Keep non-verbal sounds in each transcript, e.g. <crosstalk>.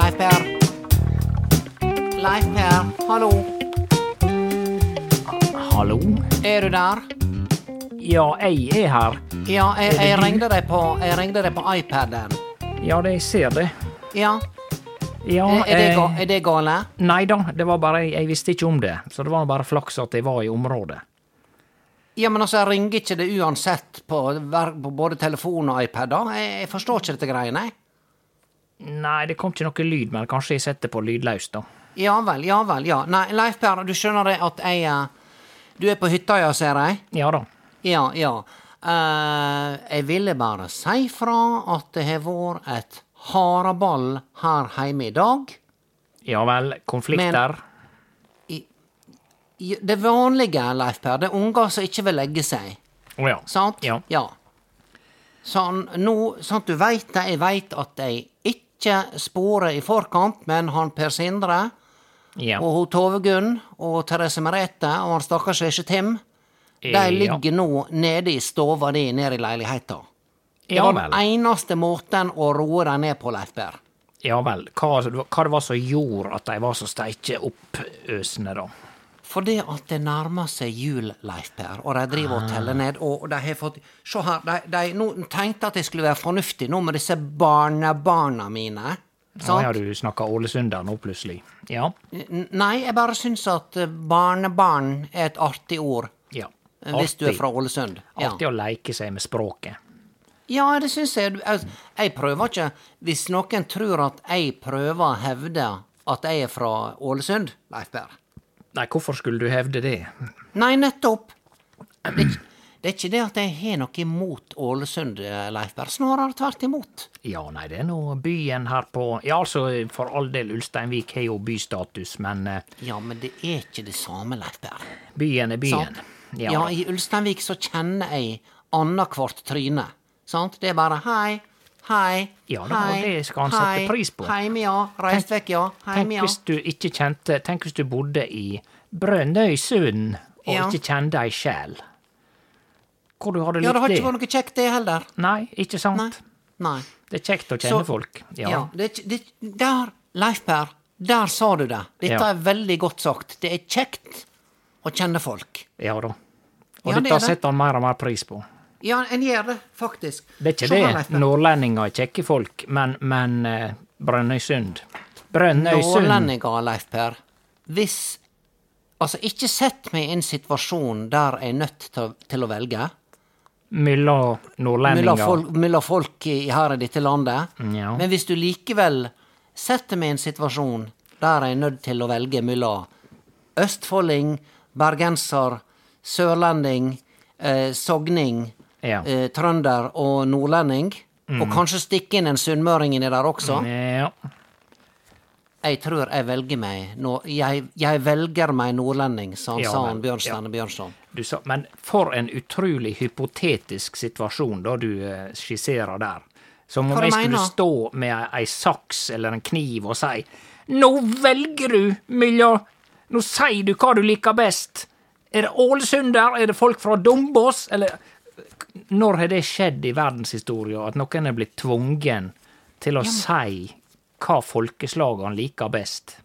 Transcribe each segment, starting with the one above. Leif Per. Leif Per, hallo. Hallo? Er du der? Ja, jeg er her. Ja, jeg, Er det jeg du? ringte deg på, jeg ringte deg på iPaden. Ja, det jeg ser det. Ja, Ja, er, er, det, eh, ga- er det gale? Nei da, det var bare, jeg visste ikke om det. Så det var bare flaks at jeg var i området. Ja, men altså, jeg ringer ikke det uansett på, hver- på både telefon og iPad, da. Jeg, jeg forstår ikke dette greiene, jeg. Nei, det kom ikke noe lyd, men kanskje jeg setter på lydløs, da. Ja vel, ja vel, ja. Nei, Leif Per, du skjønner det at jeg eh, Du er på hytta, ja, ser jeg? Ja da. Ja, ja. Eh, jeg ville bare si fra at det har vært et haraball her hjemme i dag. Ja vel, konflikter. I- Det vanlige, Leif Per, det er unger som ikke vil legge seg. Å ja. Sant? Ja. Sånn, nå, sant, du veit det, jeg veit at jeg ikke sporer i forkant, men han Per Sindre ja. og hun Tove Gunn og Therese Merete og han stakkars lille Tim, de Eh, ja. ligger nå nede i stova di nede i leiligheta. Det Ja var den vel. eneste måten å roe deg ned på, Leif Per. Ja vel. Hva, hva det var som gjorde at de var så steike oppøsende, da? Fordi at det nærmer seg jul, Leif Per, og de driver og Ah. teller ned, og de har fått Se her, de, de nå tenkte at jeg skulle være fornuftig nå med disse barnebarna mine. Nå Sant? har du snakka ålesunder nå, plutselig. Ja. N- Nei, jeg bare syns at eh, barnebarn er et artig ord. ja. eh, Hvis du er fra Ålesund. Ja. Artig å leike seg med språket. ja, det syns jeg. Du- Jeg jeg prøver ikke Hvis noen tror at jeg prøver å hevde at jeg er fra Ålesund, Leif Per Nei, hvorfor skulle du hevde det? Nei, nettopp. Det, er ikk- det er ikke det at jeg har noe imot Ålesund, eh, Leif Berr. Snarere tvert imot. Ja, nei, det er nå byen her på Ja, altså, for all del, Ulsteinvik har jo bystatus, men eh, Ja, men det er ikke det samme, Leif Berr. byen er byen. Sant? Ja, Ja, i Ulsteinvik så kjenner jeg annethvert tryne. Sant? Det er bare hei, hei, Ja, da, hei, og det skal han sette pris på. Heim, ja. Reist vekk, ja. tenk Heim, ja. hvis du ikke kjente Tenk hvis du bodde i Brønnøysund og Ja. ikke kjente ei sjel. Hvor du hadde Ja, det har likt ikke vært noe kjekt, det heller. Nei, ikke sant? Nei. Nei. Det er kjekt å kjenne Så- folk. Ja. Ja. det, er ikke- det, der, Leif Per, der sa du det. Dette Ja. er veldig godt sagt. Det er kjekt å kjenne folk. ja da. Og Ja, det er dette det. setter han mer og mer pris på. Ja, en gjør det, faktisk. Det er ikke Se her, Leif det. Per. Nordlendinger er kjekke folk, men, men eh, Brønnøysund Brønnøysund Nordlendinger, Leif Per. Hvis Altså, ikke sett meg i en situasjon der jeg er nødt til, å- til å velge. mellom Mellom nordlendinger folk, mellom folk i, her i dette landet. Ja. Men hvis du likevel setter meg i en situasjon der jeg er nødt til å velge mellom østfolding, bergenser, sørlending, eh, sogning, Ja. Mm. eh, trønder og nordlending, og kanskje stikke inn en sunnmøring inni der også Ja. Jeg tror jeg velger meg nå, jeg, jeg velger meg nordlending, sa han, Ja, sa han vel, Bjørnstjerne Bjørnson. Du sa, men for en utrolig hypotetisk situasjon da du eh, skisserer der. Som om Hva du jeg skulle mener? stå med ei saks eller en kniv og si Nå velger du mellom Nå sier du hva du liker best. Er det ålesunder? Er det folk fra Dombås? Eller Når har det skjedd i verdenshistorien at noen er blitt tvungen til å si hva folkeslagene liker best?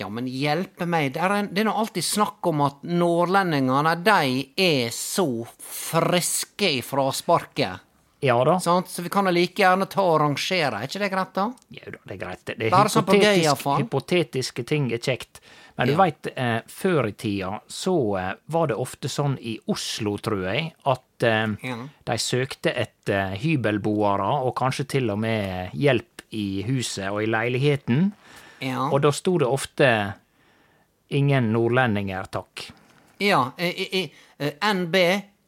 Ja, men hjelpe meg, det er, en- det er nå alltid snakk om at nordlendingene, de er så friske i frasparket. Ja da. Sant? Så vi kan jo like gjerne ta og rangere, er ikke det greit, da? Ja, da, det er greit. Det, det er Bare sånn på gøy, hypotetisk, iallfall. hypotetiske ting er kjekt. Men du veit, eh, før i tida så eh, var det ofte sånn i Oslo, tror jeg, at eh, Ja. de søkte etter hybelboere, og kanskje til og med hjelp i huset og i leiligheten. Ja. Og da sto det ofte 'ingen nordlendinger, takk'. ja i, i, i, eh, NB,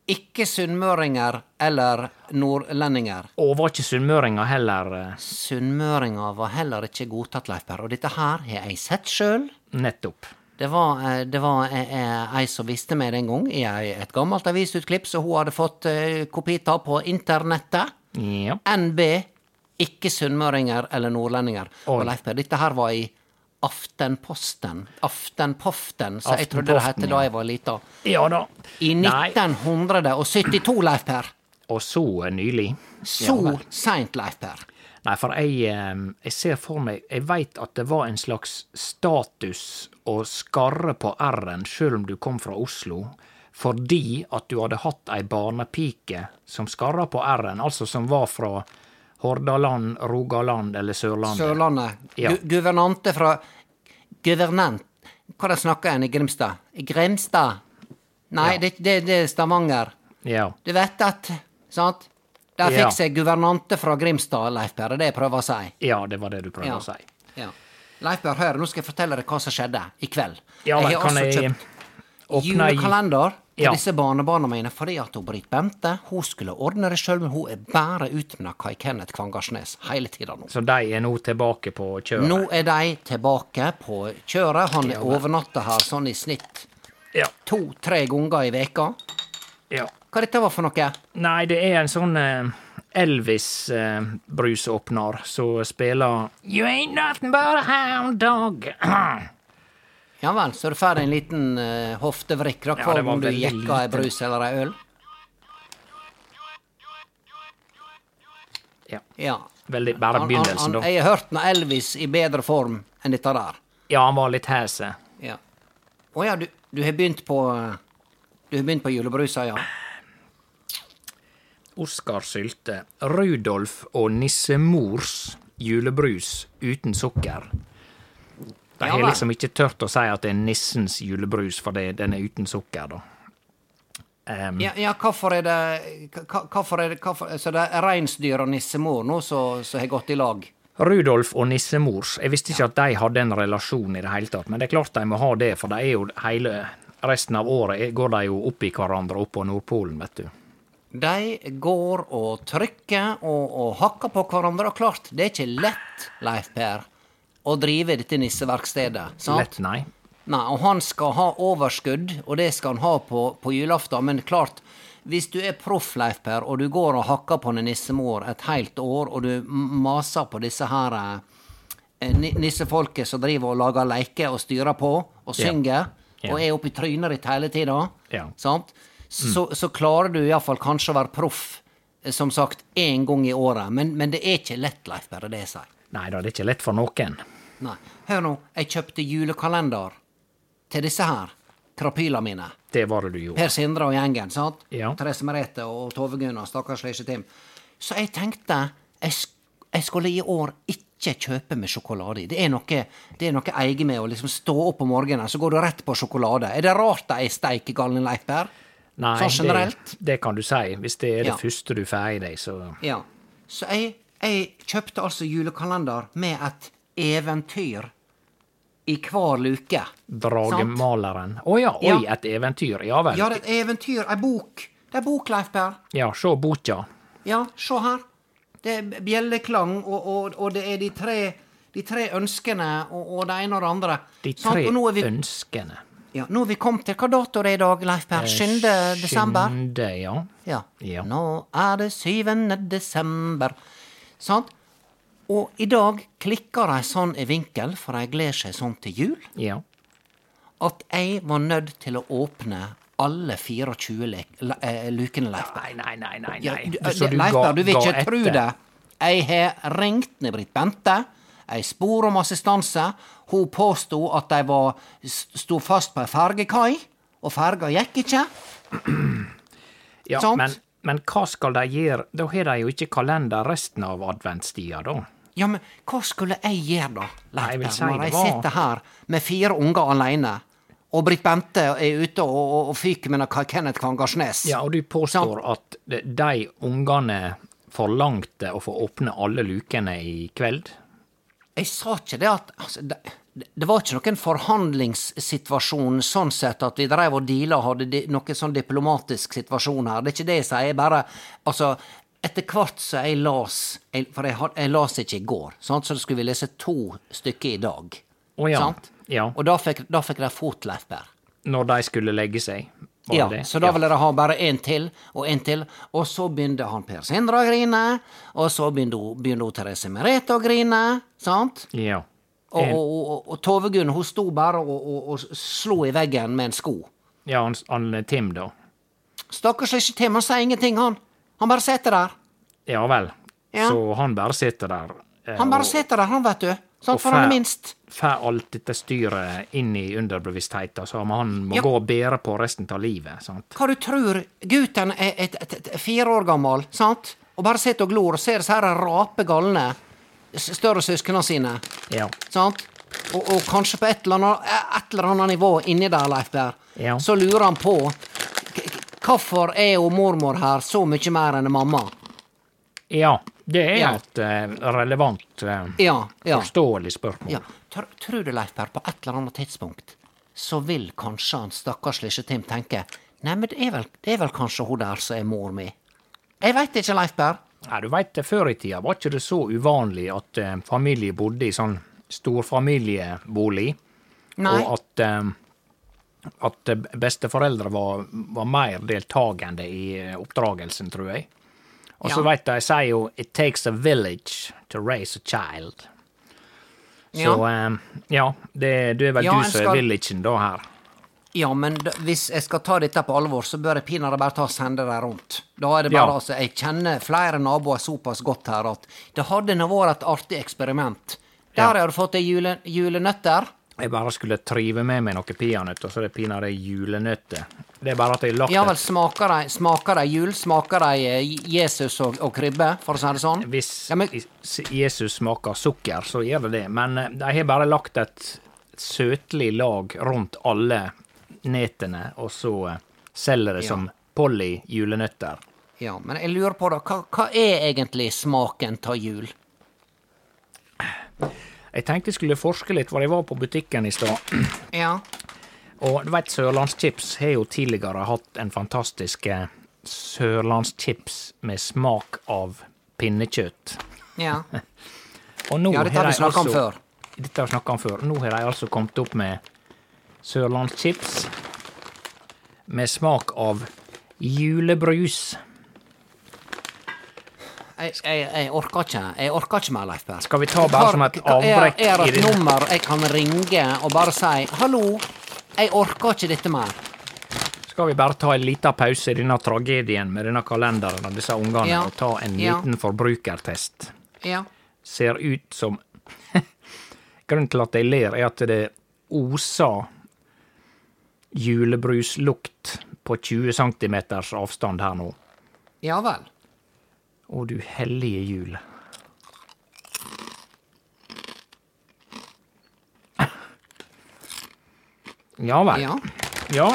ikke sunnmøringer eller nordlendinger. Og var ikke sunnmøringer heller eh, Sunnmøringer var heller ikke godtatt, Leif Berr, og dette her har jeg sett sjøl. nettopp. Det var, eh, det var eh, eh, ei som viste meg det en gang i ei- et gammelt avisutklipp, så hun hadde fått eh, kopita på internettet. Ja. NB, ikke sunnmøringer eller nordlendinger. Oi. Og Leif Per, dette her var i Aftenposten. Aftenpoften, som jeg trodde det het Aftenpoften, da jeg var lita. ja da. I Nei, 1972, Leif Per. og så eh, nylig. Så seint, Leif Per. Nei, for jeg, eh, jeg ser for meg Jeg veit at det var en slags status å skarre på r-en sjøl om du kom fra Oslo, fordi at du hadde hatt ei barnepike som skarra på r-en, altså som var fra Hordaland, Rogaland eller Sørlandet. Sørlandet. Ja. Gu guvernante fra Guvernant. Hva de snakker en i Grimstad? I Grimstad? Nei, det, det, det er Stavanger. Ja. Du vet at Sant? Der Ja. fikk seg guvernante fra Grimstad, Leif Per. Det er det jeg prøver å si. ja, det var det du prøvde Ja. å si. Ja. Leif Berr, hør, nå skal jeg fortelle deg hva som skjedde i kveld. Ja, men jeg har kan også jeg kjøpt åpne i- julekalender til Ja. disse barnebarna mine fordi at hun Britt Bente hun skulle ordne det sjøl, men hun er bare utmunna Kai Kenneth Kvangarsnes hele tida nå. Så de er nå tilbake på kjøret? Nå er de tilbake på kjøret. Han overnatter her sånn i snitt Ja. to-tre ganger i veka. ja. Hva dette var for noe? Nei, det er en sånn Elvis-brusåpner som spiller You ain't nothing but a hound dog. <clears throat> Ja vel, så du får en liten eh, hoftevrikk da, Ja, hver det var gang du veldig jekker ei liten. brus eller ei øl? ja, Ja. veldig, bare Han- begynnelsen, han, han, da. jeg har hørt når Elvis i bedre form enn dette der. Ja, han var litt hese. Ja. Å ja, du, du har begynt på eh, Du har begynt på julebrusa, ja. Oskar Sylte. Rudolf og nissemors julebrus uten sukker. De Ja har vel. liksom ikke tørt å si at det er nissens julebrus, for det, den er uten sukker, da. Em, Ja, ja hvorfor er det hva- Hvorfor er det hvorfor, Så det er reinsdyr og nissemor nå som som har gått i lag? Rudolf og nissemors. Jeg visste ikke at de hadde en relasjon i det hele tatt, men det er klart de må ha det, for de er jo hele resten av året er- går de jo opp i hverandre opp på Nordpolen, vet du. De går og trykker og, og hakker på hverandre. Og klart, det er ikke lett, Leif Per, å drive dette nisseverkstedet. Sant? Lett, nei. Nei, og han skal ha overskudd, og det skal han ha på, på julaften. Men klart, hvis du er proff, Leif Per, og du går og hakker på en nissemor et helt år, og du m- maser på disse her eh, ni- nissefolket som driver og lager leker og styrer på, og Ja. synger, Ja. og er oppi trynet ditt hele tida, Ja. Mm. sant? Så, så klarer du iallfall kanskje å være proff, eh, som sagt, én gang i året. Men, men det er ikke lett, Leif Per, det er det jeg sier. Nei da, det er ikke lett for noen. Nei. Hør nå, jeg kjøpte julekalender til disse her krapyla mine. Det var det du gjorde. Per Sindre og gjengen, sant? Ja. Therese Merete og Tove Gunnar, stakkars lille Tim. Så jeg tenkte jeg, sk jeg skulle i år ikke kjøpe med sjokolade i. Det er noe, det er noe eget med å liksom stå opp om morgenen, så går du rett på sjokolade. Er det rart de er steikegalne, Leif Per? Nei, Sånn generelt? Det, det kan du si. Hvis det er det Ja. første du får i deg, så Ja. Så jeg, jeg kjøpte altså julekalender med et eventyr i hver luke. Sant? Dragemaleren. Å ja, oi, Ja. et eventyr. Ja vel. Ja, det er et eventyr, ei bok. Det er bok, Leif Per. Ja, se boka. Ja, se her. Det er bjelleklang, og, og, og det er de tre, de tre ønskene og, og det ene og det andre. De Sant? tre Og nå er vi, ønskene. ja, nå er vi kommet til Hva dato er det i dag, Leif Per? 7. desember? Skynde, Eh, ja. Ja. Ja. Nå er det 7. desember. Sant? Og i dag klikker de sånn i vinkel, for de gleder seg sånn til jul, Ja. at jeg var nødt til å åpne alle 24 le le eh, lukene, Leif Berr. Nei, nei, nei, nei. Ja, nei. du, Så du Leif ga- Berr, du vil ga ikke tru etter. det. Jeg har ringt ned Britt Bente. Jeg spor om assistanse. Hun påsto at de var sto fast på ei fergekai, og ferga gikk ikke. Ja, Sant? men, men hva skal de gjøre? Da har de jo ikke kalender resten av adventstida, da. Ja, men hva skulle jeg gjøre da, Nei, jeg vil Leif si Berr, når det jeg var- sitter her med fire unger alene, og Britt Bente er ute og, og, og fyker med noe Kenneth Kangarsnes? Ja, og du påstår at de- de ungene forlangte å få åpne alle lukene i kveld? Jeg sa ikke det at altså, det, det var ikke noen forhandlingssituasjon sånn sett at vi drev og deala og hadde di, noen sånn diplomatisk situasjon her. Det er ikke det jeg sier. Jeg bare Altså, etter hvert så jeg las jeg, For jeg, had- jeg las ikke i går, sant? så skulle vi lese to stykker i dag. Å ja. Sant? ja. Og da fikk, da fikk de fotleif der. Når de skulle legge seg? Var Ja, det? så da ville de ha bare én til og én til, og så begynte han Per Sindre å grine, og så begynte hun- begynte hun Therese Merete å grine, sant? Ja. Og, og, og, og Tove Gunn hun sto bare og, og, og slo i veggen med en sko. ja han, han Tim, da. Stakkars lille Tim, han sier ingenting, han. Han bare sitter der. Ja vel. Ja. Så han bare sitter der. eh, Han bare og- sitter der, han, vet du. Sånn, for han er minst. Får alt dette styret inn i underbevisstheten, så han må Ja. gå og bære på resten av livet. sant? Hva du tror, gutten er et, et, et, fire år gammel, sant? Og bare sitter og glor og ser disse her rape galne s- større søsknene sine, Ja. sant? Og, og kanskje på et eller annet, eh, et eller annet nivå inni der, Leif Berr, Ja. så lurer han på k- k- Hvorfor er jo mormor her så mye mer enn mamma? ja. Det er Ja. et eh, relevant, eh, Ja, ja. forståelig spørsmål. Ja, tr Tror du, Leif Per, på et eller annet tidspunkt så vil kanskje han stakkars lille Tim tenke Nei, men det er, vel, det er vel kanskje hun der som er mor mi. Jeg veit ikke, Leif Per. Nei, du veit, før i tida var ikke det så uvanlig at eh, familie bodde i sånn storfamiliebolig, Nei. og at eh, at eh, besteforeldre var, var mer deltakende i eh, oppdragelsen, tror jeg. Og så Ja. veit de, jeg sier jo 'it takes a village to raise a child'. Så Ja. eh, ja, det, du er vel Ja, en du som skal- er villagen da her. Ja, men d hvis jeg skal ta dette på alvor, så bør jeg pinadø bare ta og sende dem rundt. Da er det bare Ja. altså, Jeg kjenner flere naboer såpass godt her at det hadde nå vært et artig eksperiment. Der Ja. har du fått ei jule, julenøtter. Jeg bare skulle trive med meg noen peanøtter, så det er pinadø julenøtter. Det er bare at jeg har lagt Ja et vel, smaker de, smaker de jul? Smaker de eh, Jesus og, og krybbe, for å si det sånn? Hvis Ja, men- is- Jesus smaker sukker, så gjør det det. Men eh, de har bare lagt et søtlig lag rundt alle netene, og så eh, selger det Ja. som Polly julenøtter. Ja, men jeg lurer på da, hva, hva er egentlig smaken av jul? Jeg tenkte jeg skulle forske litt, for jeg var på butikken i stad. Ja. Og du vet, Sørlandschips har jo tidligere hatt en fantastisk eh, sørlandschips med smak av pinnekjøtt. Ja. Og nå Ja, dette har vi de altså- snakket om før. Dette har vi snakket om før. Nå har de altså kommet opp med sørlandschips med smak av julebrus. <laughs> Jeg, jeg, jeg orker ikke jeg orker ikke mer, Leif Berr. Skal vi ta bare som et avbrekk Er, er i det et det- nummer jeg kan ringe og bare si 'hallo, jeg orker ikke dette mer'? Skal vi bare ta en liten pause i denne tragedien med denne kalenderen og disse ungene, Ja. og ta en Ja. liten forbrukertest? Ja. Ser ut som <laughs> Grunnen til at jeg ler, er at det oser julebruslukt på 20 cm avstand her nå. Ja vel. Å, du hellige jul. Ja vel. Ja. Ja,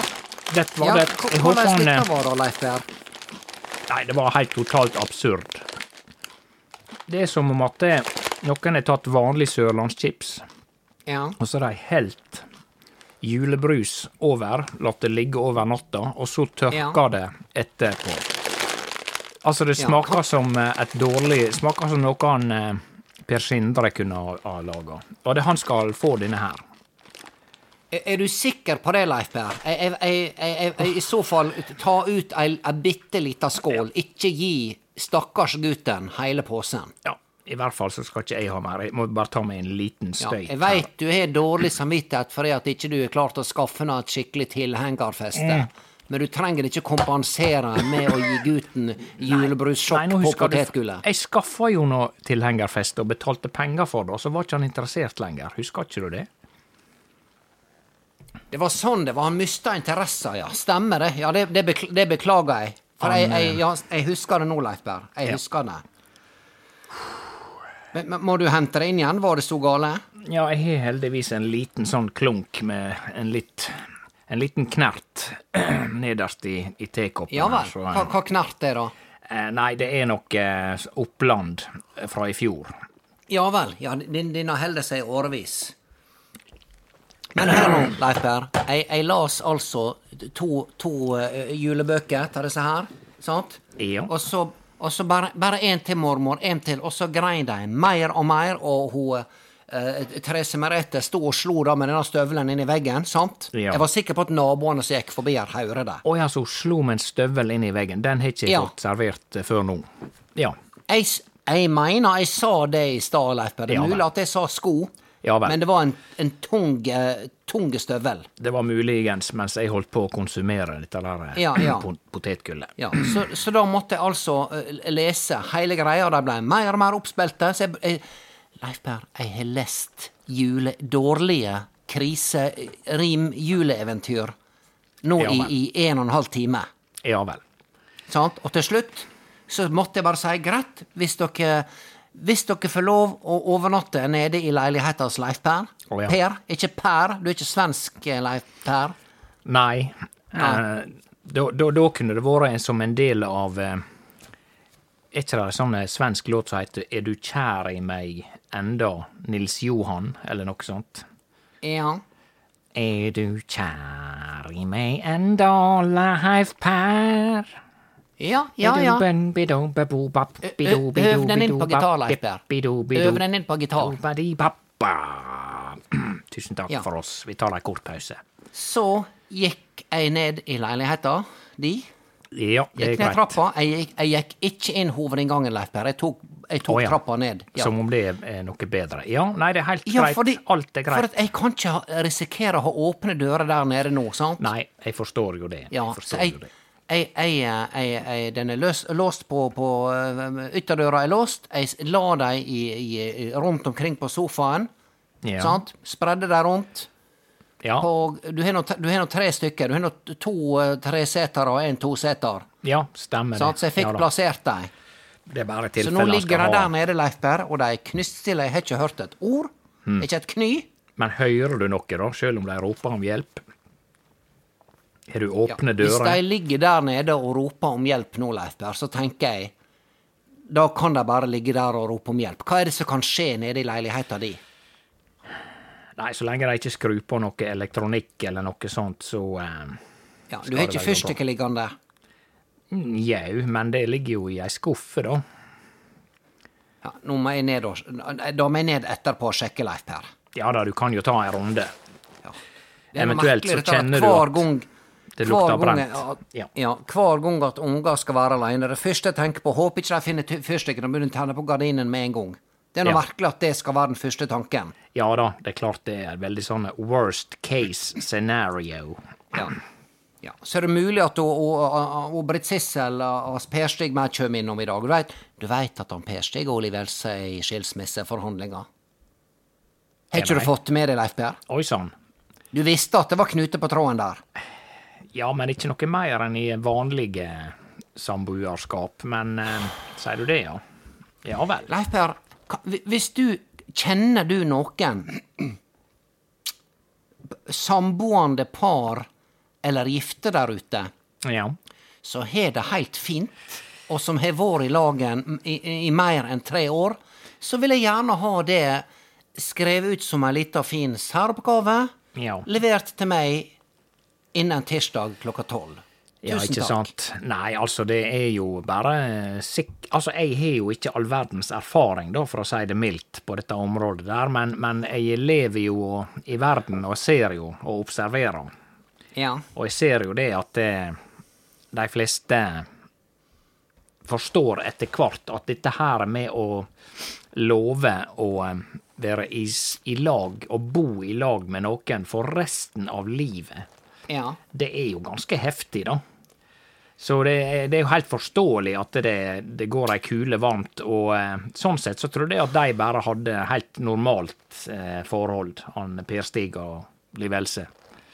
dette var ja. det. hva- Jeg håper Hvordan han dette eh, var da, Leif Berr? Nei, det var helt totalt absurd. Det er som om at det, noen har tatt vanlig sørlandschips, Ja. og så har de helt julebrus over, latt det ligge over natta, og så tørker det etterpå. Altså, det Ja. smaker som eh, et dårlig Smaker som noe han eh, Per Sindre kunne ha- ha laga. Og det, han skal få denne her. Er, er du sikker på det, Leif Berr? Jeg, jeg, jeg, jeg, jeg, jeg, I så fall, ta ut ei, ei bitte lita skål. Ikke gi stakkars gutten hele posen. Ja. I hvert fall så skal ikke jeg ha mer. Jeg må bare ta meg en liten Ja, støyt. jeg veit du har dårlig samvittighet fordi at ikke du har klart å skaffe henne et skikkelig tilhengerfeste. Mm. Men du trenger ikke kompensere med å gi gutten <laughs> Nei, julebrusjokk nå på husker du- potetgullet. Jeg skaffa jo nå tilhengerfest og betalte penger for det, og så var ikke han interessert lenger. Husker ikke du det? Det var sånn det var. Han mista interessa, ja. Stemmer det. Ja, det, det, bekl det beklager jeg. For jeg, jeg, eh, ja, jeg husker det nå, Leif Berr. Jeg husker det. Men, men må du hente det inn igjen? Var det så gale? Ja, jeg har heldigvis en liten sånn klunk med en litt en liten knert <clears throat> nederst i, i tekoppen. Ja her, vel. så- Hva, hva knert det, da? eh, nei, det er nok eh, Oppland fra i fjor. Ja vel. Ja, din, din har holdt seg i årevis. Men her nå, Leif Per. Jeg, jeg las altså to, to eh, julebøker til disse her. Sant? Ja. Og så, og så bare, bare en til, mormor. En til. Og så grein de mer og mer, og hun eh, Therese Merete sto og slo da med denne støvelen inn i veggen. sant? Ja. Jeg var sikker på at naboene som gikk forbi her, hørte det. Å ja, så hun slo med en støvel inn i veggen. Den har ikke jeg Ja. fått servert eh, før nå. Ja. Jeg, s- jeg mener jeg sa det i stad, Leif Per. Det Ja er vel. mulig at jeg sa sko, Ja vel. men det var en, en tung, eh, tung støvel. Det var muligens mens jeg holdt på å konsumere dette der eh, Ja, ja. <clears throat> pot- potetgullet. Ja, så, så da måtte jeg altså eh, lese hele greia, og de ble mer og mer oppspilte. Så jeg, jeg Leif Per, jeg har lest jule, dårlige kriserim-juleeventyr nå Ja, i, vel. i en og en halv time. Ja vel. Sant? Og til slutt så måtte jeg bare si greit, hvis dere hvis dere får lov å overnatte nede i leiligheta hos Leif Per Å, ja. Per, ikke Per. Du er ikke svensk, eh, Leif Per. Nei. Eh, da, da, da kunne det vært en, som en del av eh, Er ikke det en sånn eh, svensk låt som heter 'Er du kjær i meg enda', Nils Johan, eller noe sånt? Ja. Er du kjær i meg enda, Leif Per? Ja, ja, ja. Ø- ø- Øv den inn på gitar, Leif Per. Øv den inn på gitar. Tusen takk Ja. for oss. Vi tar en kort pause. Så gikk jeg ned i leiligheta di. Ja, det er Gikk ned greit. trappa. Jeg gikk, jeg gikk ikke inn hovedinngangen, Leif Per. Jeg tok, jeg tok Å, ja. trappa ned. Ja. Som om det er noe bedre. Ja, nei, det er helt Ja, greit. fordi- Alt er For greit. at jeg kan ikke ha- risikere å ha åpne dører der nede nå, sant? Nei, jeg forstår jo det. Ja, jeg så forstår jeg, jo det. jeg, jeg, eh, jeg, jeg Den er løs, låst på, på ø, Ytterdøra er låst. Jeg s- la dem i, i, rundt omkring på sofaen. Ja. Sant? Spredde dem rundt. Ja, På, du har nå t- du har nå tre stykker. Du har nå t- to eh, tresetere og en toseter. ja stemmer Sant? Så jeg fikk Ja da. plassert dem. Det er bare Så nå tilfellet han ligger skal de ha. der nede, Leif Per, og de er knyststille. Jeg har ikke hørt et ord. Hmm. Ikke et kny. Men hører du noe, da, selv om de roper om hjelp? Har du åpne Hvis de dører? ligger der nede og roper om hjelp nå, Leif Per, så tenker jeg da kan de bare ligge der og rope om hjelp. Hva er det som kan skje nede i leiligheta di? Nei, så lenge de ikke skrur på noe elektronikk eller noe sånt, så eh, Ja, du Skal har det ikke være noe bra? fyrstikker liggende? mm, Jau, men det ligger jo i ei skuffe, da. Ja, nå må jeg ned og Da må jeg ned etterpå og sjekke, Leif Per. Ja da, du kan jo ta en runde. Ja. Det er noe Eventuelt merkelig, så dette, at kjenner du hver at gang, det hver lukter gang- brent. Ja. Ja. ja, hver gang at unger skal være alene. Det første jeg tenker på, håper ikke de finner ty- fyrstikken og begynner å tenne på gardinen med en gang. Det er noe Ja. merkelig at det skal være den første tanken. Ja da, det er klart det er veldig sånn worst case scenario. Ja. Ja. Så er det mulig at hun- hun- hun- hun Britt Sissel og og Per Stig meg kommer innom i dag. Du vet, du vet at han Per Stig og Oliv Else er i skilsmisseforhandlinger? Har ikke du nei. fått med deg, Leif Per? Oi sann. Du visste at det var knute på tråden der. Ja, men ikke noe mer enn i vanlige samboerskap. Men eh, sier du det, ja? Ja vel. Leif Per, ka- hvi- hvis du Kjenner du noen <clears throat> samboende par eller gifte der ute Ja. som har det helt fint, og som har vært i lagen i, i, i mer enn tre år, så vil jeg gjerne ha det skrevet ut som ei lita fin særoppgave, Ja. levert til meg innen tirsdag klokka tolv. Ja, Tusen ikke takk. sant? Nei, altså, det er jo bare eh, sikk... Altså, jeg har jo ikke all verdens erfaring, da, for å si det mildt, på dette området der, men, men jeg lever jo og- i verden og ser jo og observerer. Ja. Og jeg ser jo det at eh, de fleste forstår etter hvert at dette her med å lover å eh, være i, s- i lag og bo i lag med noen for resten av livet, Ja. det er jo ganske heftig, da. Så det, er- det er jo helt forståelig at det, det går ei kule varmt, og eh, sånn sett så trodde jeg at de bare hadde helt normalt eh, forhold, han Per Stig og Liv Else.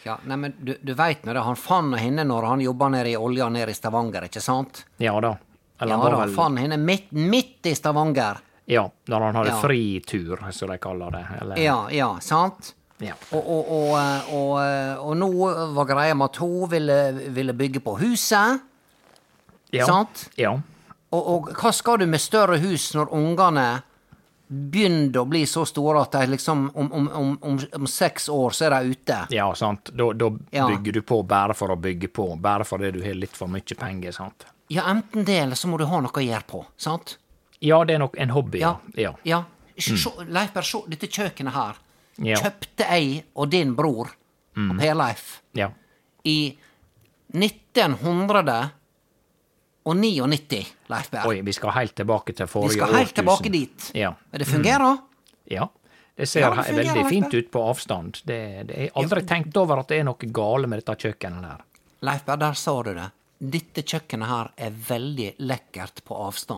ja. Nei, men du, du veit nå det, han fann henne når han jobba nede i olja nede i Stavanger, ikke sant? Ja da. Eller Ja han var da, vel- han fann henne midt, midt i Stavanger. Ja, når han hadde Ja. fritur, som de kaller det. Eller, Ja, ja, sant? Ja. Og, og, og, eh, og, eh, og nå var greia med at hun ville, ville bygge på huset. ja. Sant? Ja. Og, og hva skal du med større hus når ungene begynner å bli så store at de liksom om, om, om, om, om seks år så er de ute? ja, sant. Da, da Ja. bygger du på bare for å bygge på, bare fordi du har litt for mye penger, sant. Ja, enten det, eller så må du ha noe å gjøre på, sant? Ja, det er nok en hobby, ja. ja. Mm. ja. Sj- sjå- Leif Per, se dette kjøkkenet her. Ja. Mm. Kjøpte jeg og din bror, og Per Leif, ja. i 1999, Leif Per. Oi, vi skal helt tilbake til Vi forrige skal helt tilbake dit. Ja. Men det fungerer. ja. Det ser Ja, det he- fungerer veldig helt fint bra. ut på avstand. Det, det jeg har aldri tenkt over at det er noe gale med dette kjøkkenet der. Leif Per, der sa du det. Dette kjøkkenet her er veldig lekkert på avstand.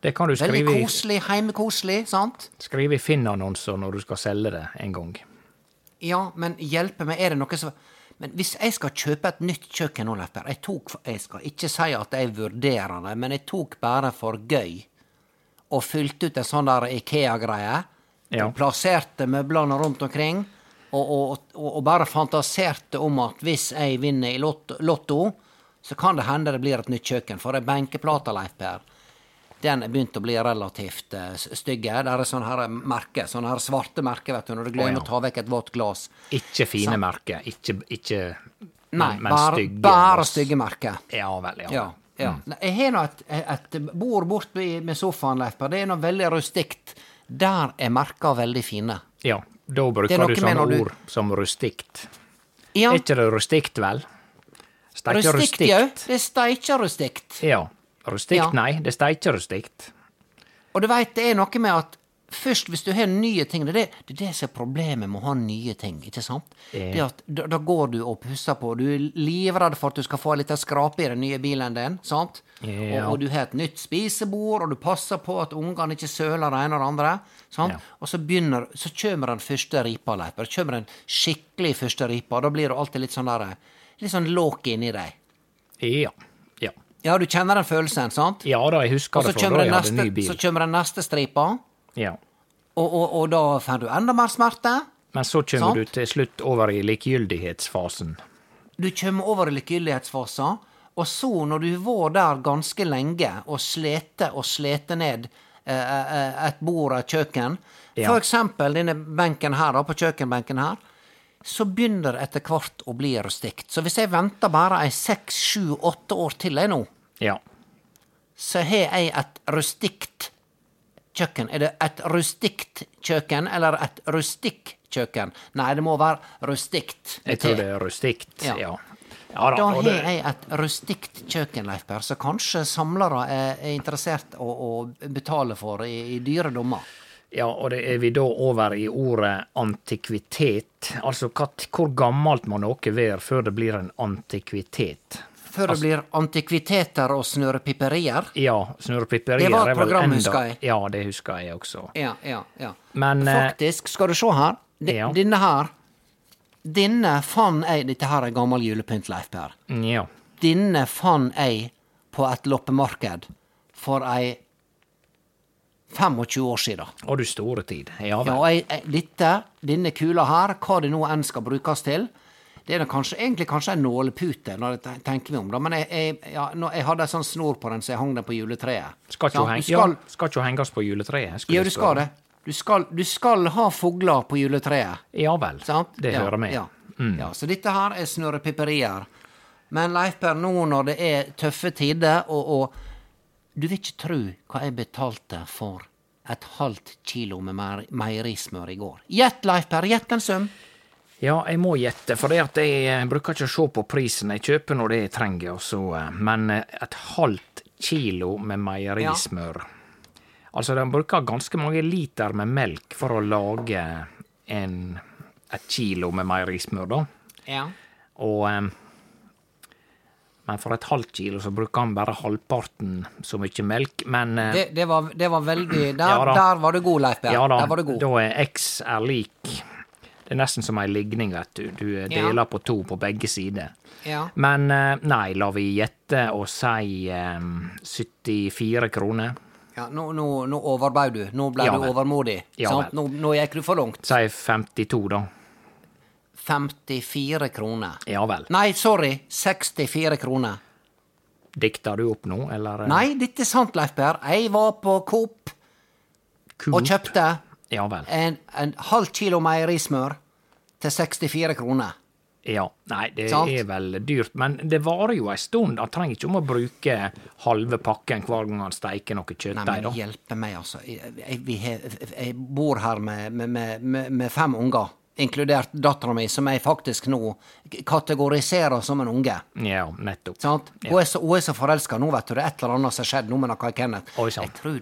Det kan du Veldig skrive i, koselig, heimekoselig, sant? skrive i Finn-annonser når du skal selge det en gang. Ja, men hjelpe meg, er det noe som Men hvis jeg skal kjøpe et nytt kjøkken nå, Leif Per jeg, tok, jeg skal ikke si at jeg vurderer det, men jeg tok bare for gøy og fylte ut en sånn der Ikea-greie. Ja. og Plasserte møblene rundt omkring. Og, og, og, og bare fantaserte om at hvis jeg vinner i lotto, lotto, så kan det hende det blir et nytt kjøkken. For ei benkeplate, Leif Per, den er begynt å bli relativt eh, s- stygge. Der er sånne her merke, sånne her svarte merker, vet du, når du glemmer Å, ja. å ta vekk et vått glass. Ikke fine merker, ikke, ikke Nei, men, men bare, stygge. bare stygge merker. Ja vel, ja. Mm. Ja. ja. Nei, Jeg har nå et, et bord borte med sofaen, Leif Per. Det er noe veldig rustikt. Der er merka veldig fine. Ja, Da Det er noe bruker du med sånne når du- ord som rustikt. Ja, Er ikke det rustikt, vel? Steikje rustikt jau. Det er steikja rustikt. Ja. Rustikt, Ja. nei. Det er steikje rustikt. Og du veit, det er noe med at først, hvis du har nye ting Det er det, det, er det som er problemet med å ha nye ting, ikke sant? Det at da, da går du og pusser på. Du er livredd for at du skal få en liten skrape i den nye bilen din, sant? Ja. Og, og du har et nytt spisebord, og du passer på at ungene ikke søler det ene og det andre. Sant? Ja. Og så begynner Så kommer den første ripa, Leif. Det kommer den skikkelig første ripa. Da blir du alltid litt sånn der Litt sånn låk inni deg. Ja. Ja, Ja, du kjenner den følelsen, sant? ja da, jeg Og husker så det fra kommer da jeg den hadde ny neste, bil. så kommer den neste stripa. Ja. Og, og, og da får du enda mer smerte. Men så Sant. kommer du til slutt over i likegyldighetsfasen. Du kommer over i likegyldighetsfasen. Og så, når du var der ganske lenge og slete og slete ned eh, eh, et bord og et kjøkken Ja. For eksempel denne benken her, da, på kjøkkenbenken her. Så begynner det etter hvert å bli rustikt. Så hvis jeg venter bare ei seks, sju, åtte år til jeg nå, Ja. så har jeg et rustikt kjøkken. Er det et rustikt kjøkken eller et rustikk kjøkken? Nei, det må være rustikt. Jeg tror det er rustikt. Ja. Ja. ja. da, Da og har det- jeg et rustikt kjøkken, Leif Per, som kanskje samlere er er interessert å, å betale for i, i dyre dommer. Ja, og det er vi da over i ordet antikvitet. Altså hva, t- hvor gammelt må noe være før det blir en antikvitet? Før det blir antikviteter og snørepipperier? Ja, snurrepipperier Det var et er vel program, enda- husker jeg. Ja, det husker jeg også. Ja, ja, ja. Men, eh, Faktisk, skal du se her. D ja. Denne her. Denne fann jeg Dette her er gammel julepynt, Leif Per. Ja. Denne fann jeg på et loppemarked for ei 25 år siden. Og du store tid. Ja Ja, vel. og jeg, jeg, dette, denne kula her, hva det nå enn skal brukes til, det er nå kanskje, egentlig kanskje en nålepute, når jeg te- tenker meg om, da. men jeg, jeg, ja, nå, jeg hadde en sånn snor på den, så jeg hang den på juletreet. Skal ikke Ja, hun heng- du skal, ja, skal ikke hun henges på juletreet? skulle ja, du jeg skal spørre. det. Du skal, du skal ha fugler på juletreet. Ja vel. Sant? Det ja, hører med. Mm. Ja. ja, Så dette her er snørrepipperier. Men Leif Per, nå når det er tøffe tider, og, og Du vil ikke tru hva jeg betalte for et halvt kilo med meier- meierismør i går. Gjett, Leif Per, gjett en sum. Ja, jeg må gjette, for det at jeg eh, bruker ikke å se på prisen. Jeg kjøper når det jeg trenger, og så eh, Men eh, et halvt kilo med meierismør Altså, de bruker ganske mange liter med melk for å lage en, et kilo med meierismør, da. Ja. Og eh, Men for et halvt kilo så bruker han bare halvparten så mye melk, men eh, Det, det, var, det var veldig Der, Ja da. der var du god, Leif Per. Ja da, Der var du god. da er X er lik Det er nesten som ei ligning, vet du. Du eh, Ja. deler på to på begge sider. Ja. Men eh, nei, la vi gjette og si eh, 74 kroner. Ja, nå, nå, nå overbød du. Nå ble Ja du vel. overmodig. Ja sant? vel. Nå, nå gikk du for langt. Si 52, da. 54 kroner. Ja vel. Nei, sorry. 64 kroner. Dikter du opp nå, eller? eh, Nei, dette er sant, Leif Per. Jeg var på Coop Coop? og kjøpte Ja vel. en, en halv kilo meierismør til 64 kroner. Ja. Nei, det Sant. er vel dyrt, men det varer jo ei stund. Han trenger ikke om å bruke halve pakken hver gang han steiker noe Nei, kjøttdeig, men da. hjelpe meg, altså. Jeg, jeg, vi har- jeg bor her med, med- med, med, med fem unger, inkludert dattera mi, som jeg faktisk nå kategoriserer som en unge. Ja, nettopp. Sant? Hun er så, hun er så forelska nå, vet du. Det er et eller annet som har skjedd nå med noe Kenneth. Oi, sant. Jeg tror,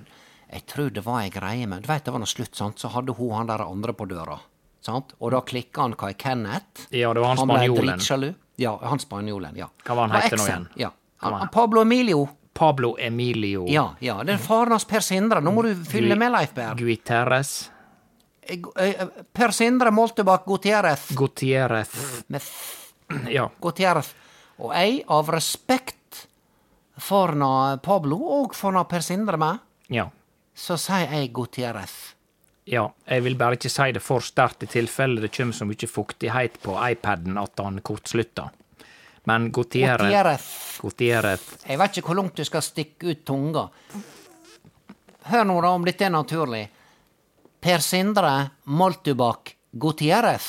jeg tror det var ei greie, men du vet det var noe slutt, sant? så hadde hun han der andre på døra. Sant? Og da klikka han Kai Kenneth. Ja, det var han ble spanjolen. dritsjalu. Ja, han spanjolen. ja. Hva var han Det heter nå eksen, igjen? Oh. Ja. Hva var Han, han? Pablo Emilio. Pablo Emilio Ja, ja. Det er faren hans Per Sindre. Nå må du fylle med, Leif Berr. Guiterres Eh, gu- eh, Per Sindre Moltebakk Gutierrez. Gutierrez Med f- Ja. Gutierrez. Og jeg, av respekt for na Pablo og for na Per Sindre med, ja. så sier jeg Gutierrez. Ja, jeg vil bare ikke si det for sterkt i tilfelle det kommer så mye fuktighet på iPaden at han kortslutter. Men Gutierrez Gutierrez. Gutierrez Jeg vet ikke hvor langt du skal stikke ut tunga. Hør nå, da, om dette er naturlig. Per Sindre Moltubakk Gutierrez.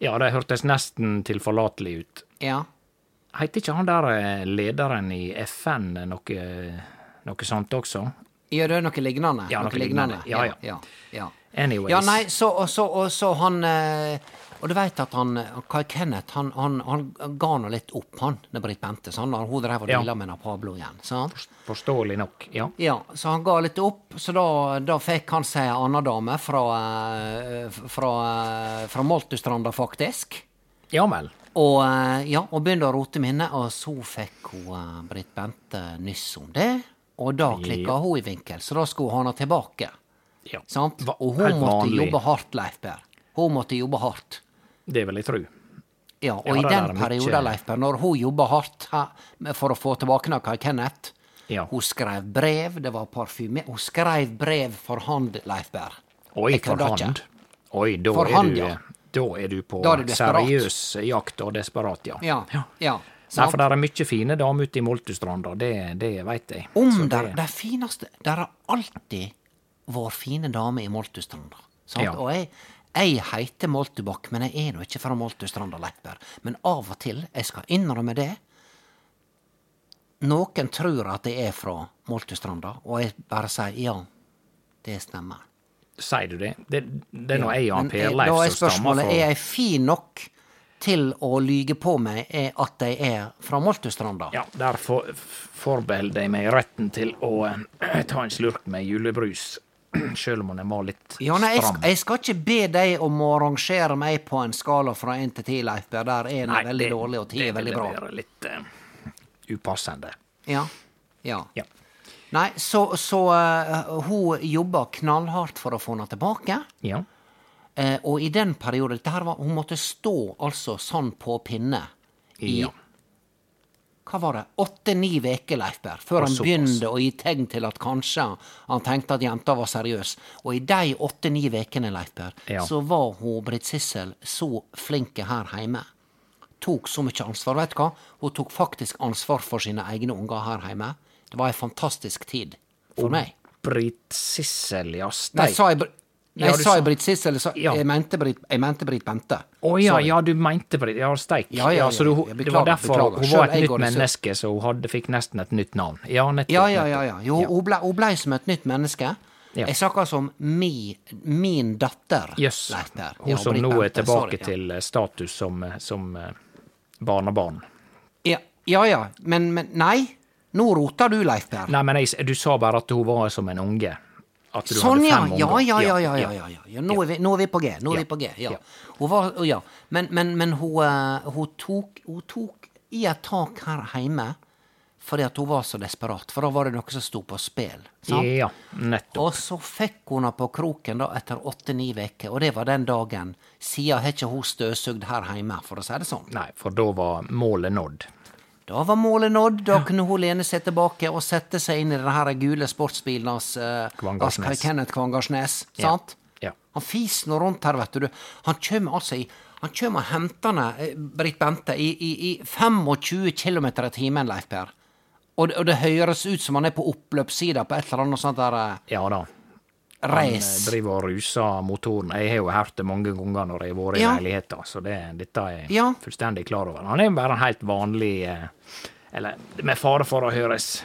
Ja, det hørtes nesten tilforlatelig ut. Ja. Heter ikke han der eh, lederen i FN noe, noe sånt også? Gjør det noe lignende? Ja, noe lignende. Ja, ja. ja, ja. Anyways. Ja, nei, så, og så, og så han eh, Og du veit at han eh, Kai Kenneth, han, han, han ga nå litt opp, han, når Britt Bente, sant, når hun drev og Ja. deala med na Pablo igjen. sant? Forståelig nok, ja. Ja, så han ga litt opp, så da, da fikk han seg ei anna dame fra, eh, fra, eh, fra Moltustranda, faktisk. Ja vel. Og eh, ja, og begynte å rote minnet, og så fikk hun eh, Britt Bente nyss om det. Og da klikka hun i vinkel, så da skulle hun ha henne tilbake. Ja. Sant? Va- Og hun helt måtte vanlig. jobbe hardt, Leif Per. Hun måtte jobbe hardt. Det vil jeg tro. Ja, og Ja, i det der den er mye- perioden, Leif Per, når hun jobba hardt her, med- for å få tilbake noe av Kenneth Ja. Hun skrev brev, det var parfyme Hun skrev brev for hand, Leif Per. Oi, Jeg for kødder ikke. hand. Oi, da For er hand, du eh, ja. Da er du på Da er du desperat. seriøs jakt og desperat, ja. Ja. ja. Nei, sant? for det er mye fine damer ute i Moltustranda, det, det veit jeg. Om der, det fineste Der har alltid vår fine dame i Moltustranda. Sant? Ja. Og jeg, jeg heter Moltubakk, men jeg er nå ikke fra Moltustranda, Leipberg. Men av og til, jeg skal innrømme det Noen tror at jeg er fra Moltustranda, og jeg bare sier ja, det stemmer. Sier du det? Det, det er nå jeg og han Men eh, Per da er Leif som stammer spørsmålet er fra jeg fin nok til å lyge på meg eh, at jeg er fra Moltustranda. Ja, der for, forbeholder jeg meg retten til å eh, <clears throat> ta en slurk med julebrus, <clears throat> sjøl om den var litt Ja, nei, jeg, stram. sk- jeg skal ikke be deg om å rangere meg på en skala fra én til ti, Leif Berr. Der én Nei, er veldig det- dårlig, og ti det er veldig ville bra. være litt, eh, upassende. Ja. ja. Ja. Nei, så, så eh, hun jobba knallhardt for å få henne tilbake. Ja. Eh, og i den perioden dette her var, Hun måtte stå altså sånn på pinne i Ja. Hva var det? Åtte-ni uker, Leif Berr, før han såpass. begynte å gi tegn til at kanskje han tenkte at jenta var seriøs. Og i de åtte-ni ukene, Leif Berr, Ja. så var hun Britt Sissel så flink her hjemme. Tok så mye ansvar. Vet du hva? Hun tok faktisk ansvar for sine egne unger her hjemme. Det var ei fantastisk tid for meg. Britt Sissel, ja. Nei, Steik. sa jeg, Br- Ja, nei, du sa sa- jeg Britt Sissel? Sa, Ja. Jeg mente Britt jeg mente Britt Bente. Å ja, Sorry. ja, du mente Britt. Ja, steik. Ja, ja, så ja, du, ja, det var beklager, derfor beklager. hun var Selv et jeg nytt går det sø- menneske, så hun hadde, fikk nesten et nytt navn. Ja, nettopp. Ja, ja, ja. nettopp. ja. Jo, Hun, ble, hun ble som et nytt menneske. Ja. Jeg snakker altså om mi, min datter. Jøss. Leif Per. Hun Ja, som Britt nå er Bente, sorry, tilbake til eh, status som, eh, som eh, barnebarn. Ja, ja. ja. Men, men Nei, nå roter du, Leif Per. Nei, men jeg, s- du sa bare at hun var som en unge. At du Sånn, hadde ja. fem unger. Ja, ja, ja. ja, ja, ja, ja. ja. Nå, er vi, nå er vi på G. Nå er Ja. vi på G, ja. Ja. Hun var, å, ja. Men, men, men hun, eh, hun, tok, hun tok i et tak her hjemme fordi at hun var så desperat. For da var det noe som sto på spill. Ja, Sant? nettopp. Og så fikk hun henne på kroken da etter åtte-ni uker, og det var den dagen. Siden har ikke hun støvsugd her hjemme, for å si det sånn. Nei, for da var målet nådd. Da var målet nådd, da kunne hun lene seg tilbake og sette seg inn i den her gule sportsbilen hans, eh, hans Kvangarsnes. Kenneth Kvangarsnes, Ja. sant? Ja. Han fiser nå rundt her, vet du. Han kjem altså i han kjem og henter henne, eh, Britt Bente, i, i, i 25 km i timen, Leif Per. Og, det- og det høres ut som han er på oppløpssida på et eller annet sånt der eh, Ja da. Han eh, race. driver og ruser motoren. Jeg har jo hørt det mange ganger når jeg har vært i Ja. leiligheter, så det, dette er jeg Ja. fullstendig klar over. Han er jo bare en helt vanlig eh, Eller med fare for å høres.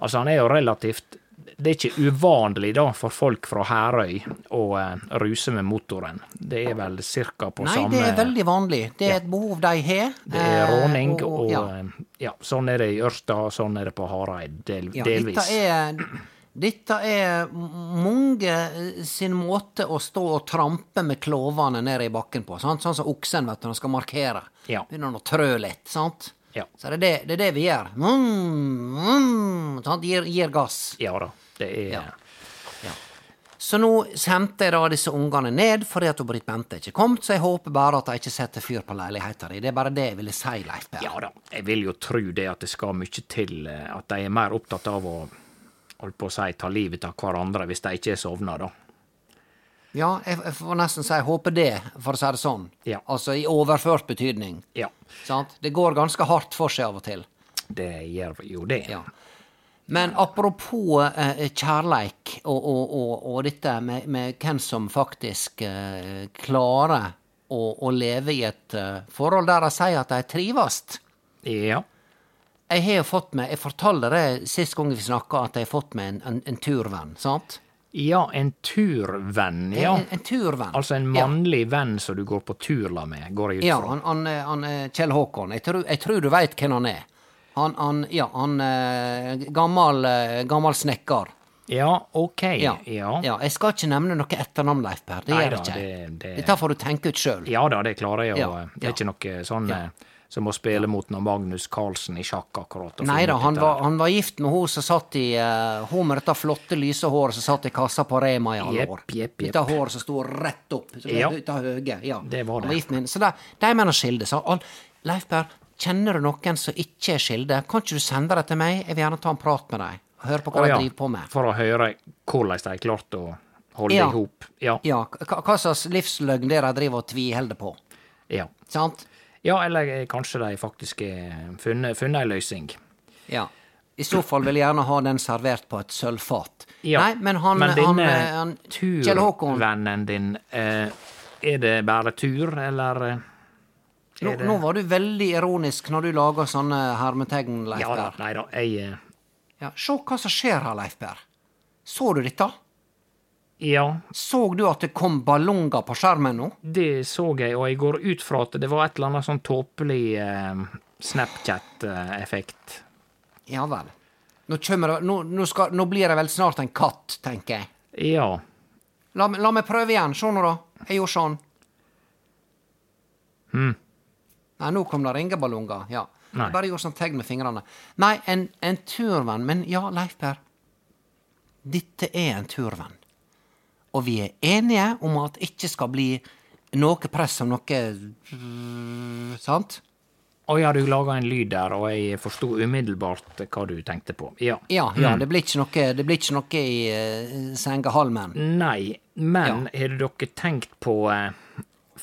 Altså, han er jo relativt Det er ikke uvanlig, da, for folk fra Herøy å eh, ruse med motoren. Det er vel cirka på Nei, samme det er veldig vanlig. Det er et behov de har. Det er råning, Eh, og, ja. eh, ja, sånn er det i Ørsta, og sånn er det på Hareid, del, Ja, delvis. Dette er, dette er mange eh, sin måte å stå og trampe med klovene ned i bakken på. Sant? Sånn som oksen vet du, når han skal markere. Ja. Begynner han å trø litt. sant? Ja. Så det er det, det er det vi gjør. Mm, mm, sant? Gir, gir gass. Ja da, det er Ja. Så nå sendte jeg da disse ungene ned fordi at hun Britt Bente ikke kom, så jeg håper bare at de ikke setter fyr på leiligheta di. Det er bare det jeg ville si, Leif Berr. Ja da, jeg vil jo tro det at det skal mye til eh, at de er mer opptatt av å holdt på å si, ta livet av hverandre hvis de ikke er sovna, da. Ja, jeg, jeg får nesten si jeg håper det, for å si det sånn. Ja. Altså i overført betydning. Ja, Sant? Det går ganske hardt for seg av og til. det gjør jo det. Ja. Men apropos eh, kjærleik og, og, og, og dette med, med hvem som faktisk eh, klarer å, å leve i et eh, forhold der de sier at de trives. Ja. Jeg har jo fått med, jeg fortalte det sist gang vi snakka, at jeg har fått med en, en, en turvenn. sant? Ja, en turvenn, ja. En, en turvenn. Altså en Ja. mannlig venn som du går på tur la med, går jeg ut Ja, fra. han, han, eh, han eh, Kjell Håkon. Jeg tror, jeg tror du veit hvem han er. Han, han, ja, han eh, Gammal, eh, gammal snekker. Ja, ok. Ja. Ja. ja. Jeg skal ikke nevne noe etternavn, Leif Per. Det Nei gjør da, ikke jeg. det- det- Dette får du tenke ut sjøl. Ja da, det klarer jeg. Ja, å- Det er ja. ikke noe sånn eh, som å spille mot når Magnus Carlsen i sjakk akkurat. og Nei finne da, ut han dette var, her. han var gift med hun som satt i eh, Hun med dette flotte, lyse håret som satt i kassa på Rema i alle Jepp, år. jepp, jepp. Dette håret som sto rett opp. som Ja. er Dette høye. Ja. Det var det. Han var gift med henne. Så de, de mener skilde. Så han, Leif Per, kjenner du noen som ikke er skilde? Kan ikke du sende det til meg? Jeg vil gjerne ta en prat med dem. Høre på hva Å de ja, driver på med. For å høre hvordan de har klart å holde Ja. i hop. Ja. Ja, hva, hva slags livsløgn det er de driver og tviholder på. ja. Sant? Ja, eller eh, kanskje de faktisk har funnet, funnet ei løsning. Ja. I så fall vil jeg gjerne ha den servert på et sølvfat. Ja. Nei, men han, han, denne eh, han Kjell Håkon, turvennen din, eh, er det bare tur, eller eh, er nå, det- nå var du veldig ironisk når du lager sånne hermetegn, Leif Ja da, Per. nei da, jeg eh, Ja, se hva som skjer her, Leif Per. Så du dette? Ja, Så du at det kom ballonger på skjermen nå? det så jeg, og jeg går ut fra at det var et eller annet sånn tåpelig eh, Snapchat-effekt. Ja vel. Nå, kommer det, nå, nå, skal, nå blir det vel snart en katt, tenker jeg. Ja. La, meg- la meg prøve igjen. Se nå, da. Jeg gjorde sånn. Nei, nå kom det ringeballonger. Ja. Nei. Bare gjorde sånn tegn med fingrene. Nei, en, en turvenn. Men ja, Leif Per. Dette er en turvenn. Og vi er enige om at det ikke skal bli noe press om noe mm, Sant? Å ja, du laga en lyd der, og jeg forsto umiddelbart hva du tenkte på. Ja. Ja, ja det, blir ikke noe, det blir ikke noe i eh, sengehalmen. Nei, men har dere tenkt på eh,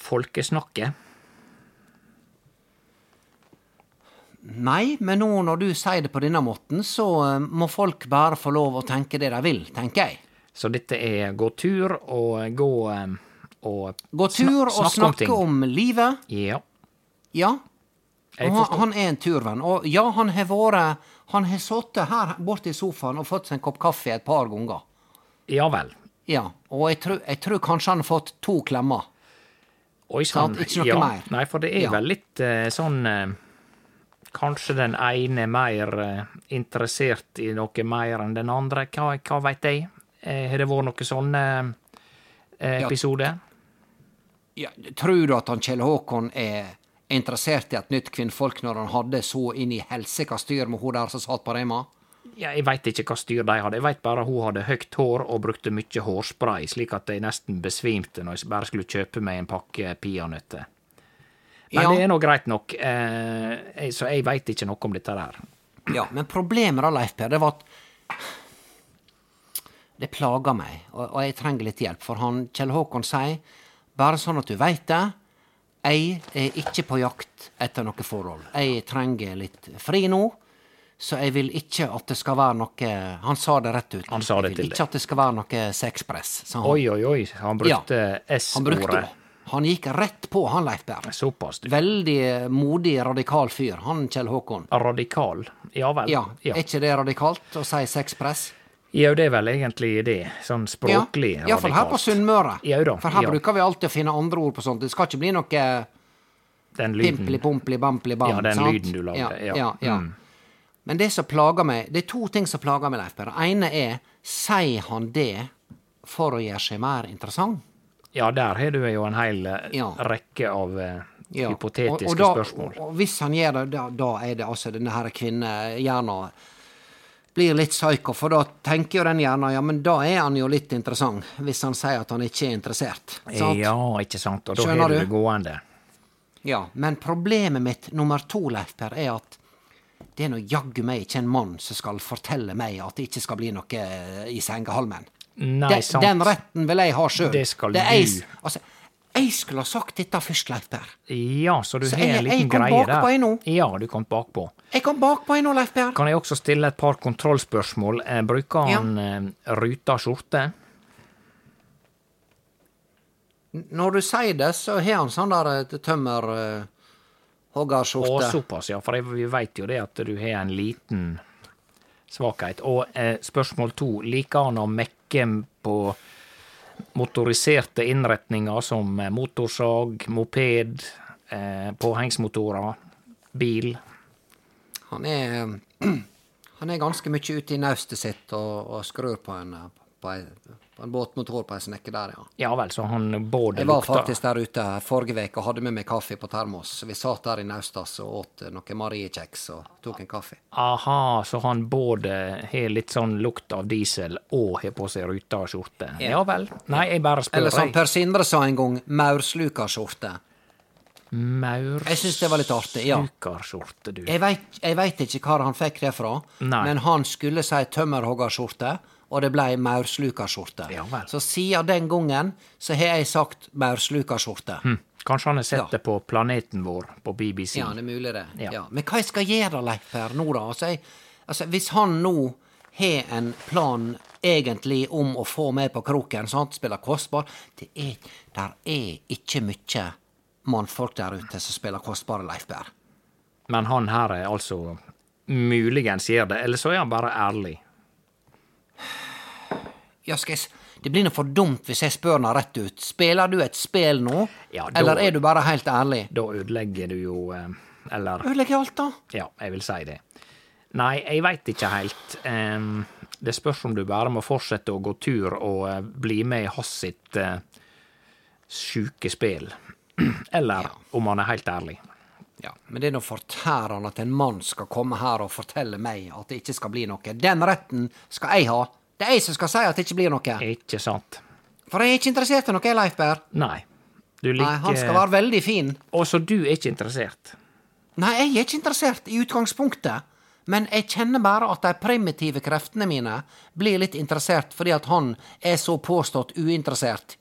folkesnakket? Nei, men nå når du sier det på denne måten, så eh, må folk bare få lov å tenke det de vil, tenker jeg. Så dette er gå tur og gå eh, og Gå tur sna- og snakke om, livet. Ja. Ja. Jeg Og han, han er en turvenn. Og ja, han har vært Han har sittet her borte i sofaen og fått seg en kopp kaffe et par ganger. ja vel. Ja. Og jeg tror, jeg tror kanskje han har fått to klemmer. Oi sann. Sant, ikke noe ja. mer. Nei, for det er Ja. vel litt eh, sånn eh, Kanskje den ene er mer eh, interessert i noe mer enn den andre. Hva, hva veit jeg? Eh, Har det vært noen sånne eh, Ja. episoder? Ja, tror du at han Kjell Håkon er interessert i et nytt kvinnfolk når han hadde så inn i helsika styr med hun der som satt på Rema? Ja, jeg veit ikke hva styr de hadde, jeg veit bare hun hadde høyt hår og brukte mye hårspray, slik at jeg nesten besvimte når jeg bare skulle kjøpe meg en pakke peanøtter. Men Ja. det er nå greit nok, eh, jeg- så jeg veit ikke noe om dette der. Ja, men problemet da, Leif Per, det var at Det plager meg, og, og jeg trenger litt hjelp, for han Kjell Håkon sier, bare sånn at du veit det, jeg er ikke på jakt etter noe forhold. Jeg trenger litt fri nå, så jeg vil ikke at det skal være noe Han sa det rett ut. Han sa det jeg til vil deg. ikke at det skal være noe sexpress, sa han. Oi, oi, oi, han brukte Han brukte S-ordet. Han gikk rett på, han Leif Berr. Såpass, du. Veldig modig, radikal fyr, han Kjell Håkon. Radikal. Ja vel. Ja, ja. Er ikke det radikalt å si sexpress? Jo, det er vel egentlig det. Sånn språklig ja. Iallfall her på Sunnmøre. Ja da, For her ja. bruker vi alltid å finne andre ord på sånt. Det skal ikke bli noe Den lyden. pimpli-pompli-bampli-bam. Ja, den sant? lyden du lagde, ja. Mm. ja, ja. Men det som plager meg, det er to ting som plager meg, Leif Per. Det ene er sier han det for å gjøre seg mer interessant? Ja, der har du jo en hel eh, Ja. rekke av eh, Ja, hypotetiske og, og da, spørsmål. Og, og hvis han gjør det, da, da er det altså denne her kvinnehjernen blir litt psyko, for da tenker jo den hjernen ja, men da er han jo litt interessant, hvis han sier at han ikke er interessert. Sant? Ja, ikke sant. Og da Skjønner har du du? det gående. Ja, Men problemet mitt nummer to, Leif Per, er at det er nå jaggu meg ikke en mann som skal fortelle meg at det ikke skal bli noe eh, i sengehalmen. Nei, Den- sant. Den retten vil jeg ha sjøl. Det skal jeg, du. Altså, jeg skulle ha sagt dette først, Leif Per. Ja, så du Så har jeg- en liten jeg kom greie der. bakpå jeg nå. Ja, du kom bakpå. Jeg kom bakpå jeg nå, Leif Per. Kan jeg også stille et par kontrollspørsmål? Eh, Bruker Ja. han eh, ruta skjorte? Når du sier det, så har han sånn der eh, tømmer uh, Å, hoggerskjorte. såpass, ja. For jeg, vi veit jo det at du har en liten svakhet. Og eh, spørsmål to. Liker han å mekke på motoriserte innretninger som eh, motorsag, moped, eh, påhengsmotorer, bil? Han er <clears throat> Han er ganske mye ute i naustet sitt og, og skrur på en, eh, på, ei, på en båtmotor på ei snekke der, ja. Ja vel, så han både Jeg var lukta faktisk der ute forrige uke og hadde med meg kaffe på termos. Vi satt der i naustas og åt eh, noen Mariekjeks og tok en kaffe. Aha, så han både har litt sånn lukt av diesel og har på seg ruta og skjorte. Ja. vel. Nei, jeg bare spør. Eller sånn som jeg. Per Sindre sa en gang, maurslukeskjorte. Maur- Jeg syns det var litt artig, ja. Slukerskjorte, du. Jeg veit, jeg veit ikke hvor han fikk det fra, Nei. men han skulle si tømmerhoggerskjorte, og det blei maurslukeskjorte. Ja vel. så siden den gangen så har jeg sagt maurslukeskjorte. Hm. Kanskje han har sett Ja. det på Planeten vår på BBC. Ja, det er mulig, det. Ja. Ja. Men hva jeg skal gjøre, Leif, her nå, da? Altså, jeg, altså, hvis han nå har en plan egentlig om å få meg på kroken, sant, spiller kostbar Det er, der er ikke mye mannfolk der ute som spiller kostbare Leifberg. Men han her er altså Muligens gjør det, eller så er han bare ærlig. Ja, skal jeg... s- Det blir nå for dumt hvis jeg spør henne rett ut. Spiller du et spel nå, Ja, da- eller er du bare helt ærlig? Da ødelegger du jo eh, Eller Ødelegger jeg alt, da? Ja, jeg vil si det. Nei, jeg veit ikke helt. Ehm, det spørs om du bare må fortsette å gå tur og eh, bli med i hans sitt <clears throat> eh, sjuke spill. Eller om han er helt ærlig. Ja, Men det er nå fortærende at en mann skal komme her og fortelle meg at det ikke skal bli noe. Den retten skal jeg ha. Det er jeg som skal si at det ikke blir noe. Ikke sant. For jeg er ikke interessert i noe, Leif Berr. Nei. Du liker Nei, han skal være veldig fin. Og så du er ikke interessert. Nei, jeg er ikke interessert i utgangspunktet. Men jeg kjenner bare at de primitive kreftene mine blir litt interessert fordi at han er så påstått uinteressert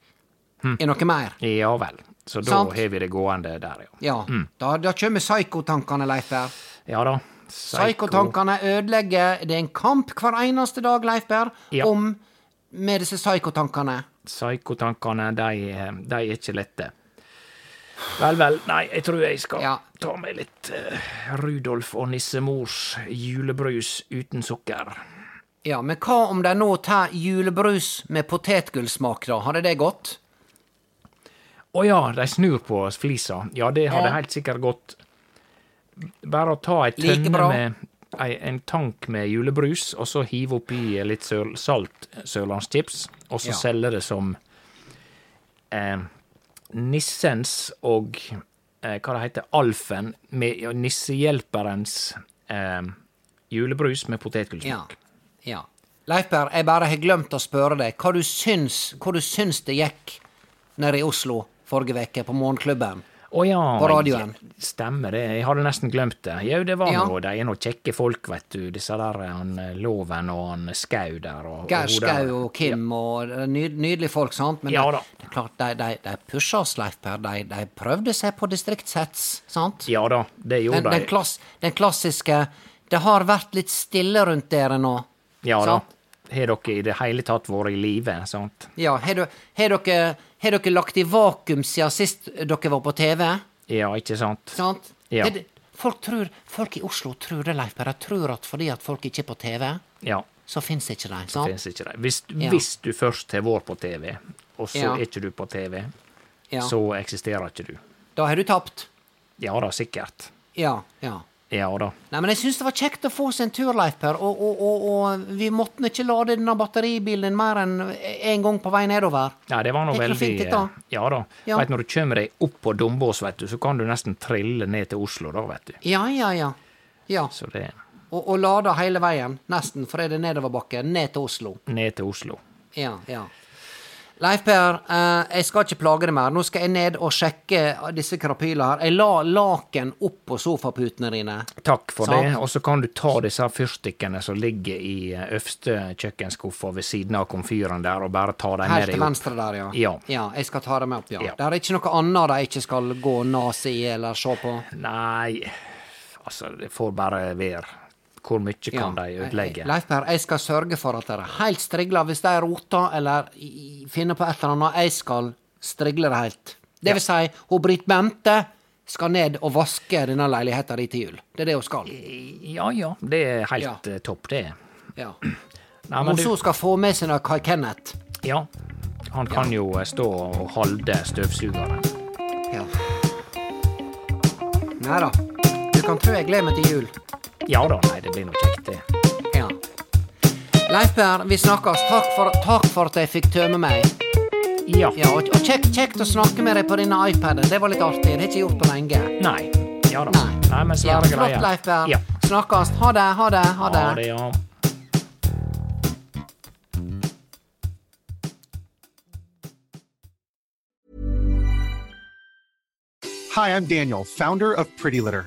i noe mer. Ja vel. Så da Sant. har vi det gående der, ja. Ja, da, da kommer psykotankene, Leif Berr. Ja da. Psykotankene ødelegger Det er en kamp hver eneste dag, Leif Berr, Ja. om med disse psykotankene. Psykotankene, de, de er ikke lette. Vel, vel. Nei, jeg tror jeg skal Ja. ta meg litt eh, Rudolf og nissemors julebrus uten sukker. Ja, men hva om de nå tar julebrus med potetgullsmak, da? Hadde det gått? Å ja, de snur på flisa. Ja, det hadde helt sikkert gått. Bare å ta ei Like tønne bra. med ei, en tank med julebrus, og så hive oppi litt søl, salt sørlandschips, og så Ja. selge det som eh, Nissens og eh, Hva det heter Alfen med ja, Nissehjelperens eh, julebrus med Ja. potetgullsmak. ja. Leif Berr, jeg bare har glemt å spørre deg hva du syns, hvor du syns det gikk nede i Oslo forrige veke på Morgenklubben. Å ja, På radioen. ja, Stemmer det, jeg hadde nesten glemt det. Jau, det var Ja. nå, de er nå kjekke folk, vet du, disse der han eh, Loven og han Skau der og Geir og hun der. Skau og Kim og det er ny, nydelige folk, sant? Men Ja det, da. det er klart, de, de, de pusha oss, Leif Berr. De, de prøvde seg på distriktshets, sant? Ja da, det gjorde Den, den, de. klass, den klassiske Det har vært litt stille rundt dere nå. Ja da. Sant? Har dere i det hele tatt vært i live, sant? Ja, har du- har dere, har dere lagt i vakuum siden sist dere var på TV? Ja, ikke sant? Sant? Ja. Er det- Folk, tror, folk i Oslo tror det, Leif Berre. Tror at fordi at folk ikke er på TV, Ja, så fins ikke de. Sant? finnes ikke det. Hvis, Ja. hvis du først har vært på TV, og så Ja. er ikke du på TV, Ja. så eksisterer ikke du. Da har du tapt. Ja da, sikkert. Ja. ja. Ja da. Nei, men jeg syns det var kjekt å få oss en tur, Leif Per, og, og, og, og vi måtte nå ikke lade denne batteribilen mer enn én gang på vei nedover. Ja, det var nå Gikk det veldig fint, dette? eh, Ja da. Ja. Vet, når du kommer deg opp på Dombås, vet du, så kan du nesten trille ned til Oslo, da, vet du. Ja, ja, ja. ja. Så det er Og, og lada hele veien, nesten, for det er nedoverbakke, ned til Oslo. ned til Oslo. Ja, ja. Leif Per, eh, jeg skal ikke plage deg mer. Nå skal jeg ned og sjekke disse krapyla her. Jeg la laken opp på sofaputene dine. Takk for Sant. det. Og så kan du ta disse her fyrstikkene som ligger i eh, øverste kjøkkenskuffa ved siden av komfyren der, og bare ta dem med Helt til deg opp. venstre der, ja. Ja. Jeg skal ta dem opp, ja. Ja. Det er ikke noe annet de ikke skal gå nase i eller se på. Nei, altså, det får bare være. Hvor mye kan Ja. de ødelegge? Leif Per, jeg skal sørge for at dere er helt strigla hvis de roter eller i- i- finner på et eller annet. Jeg skal strigle det helt. Det vil si, hun Britt Bente skal ned og vaske denne leiligheten di til jul. Det er det hun skal. Ja ja, det er helt Ja. eh, topp, det. Ja. Nei, Hun men du så skal få med seg noe Kai Kenneth. Ja. Han kan jo eh, stå og holde støvsugeren. Ja. Nei da. Du kan tro jeg gleder meg til jul. Ja da, nei, det blir nå kjekt, det. Ja. Leif Per, vi snakkes. Takk for, takk for at jeg fikk tømme meg. Ja. Ja, og, og kjekt, kjekt å snakke med deg på denne iPaden. Det var litt artig. Det har jeg ikke gjort på lenge. Nei. Ja da. Nei. Nei, men svære ja, greier. Flott, Leif Berr. Ja. Snakkes. Ha det, ha det, ha det. Ha det, ja. Hi, I'm Daniel, founder of Pretty Litter.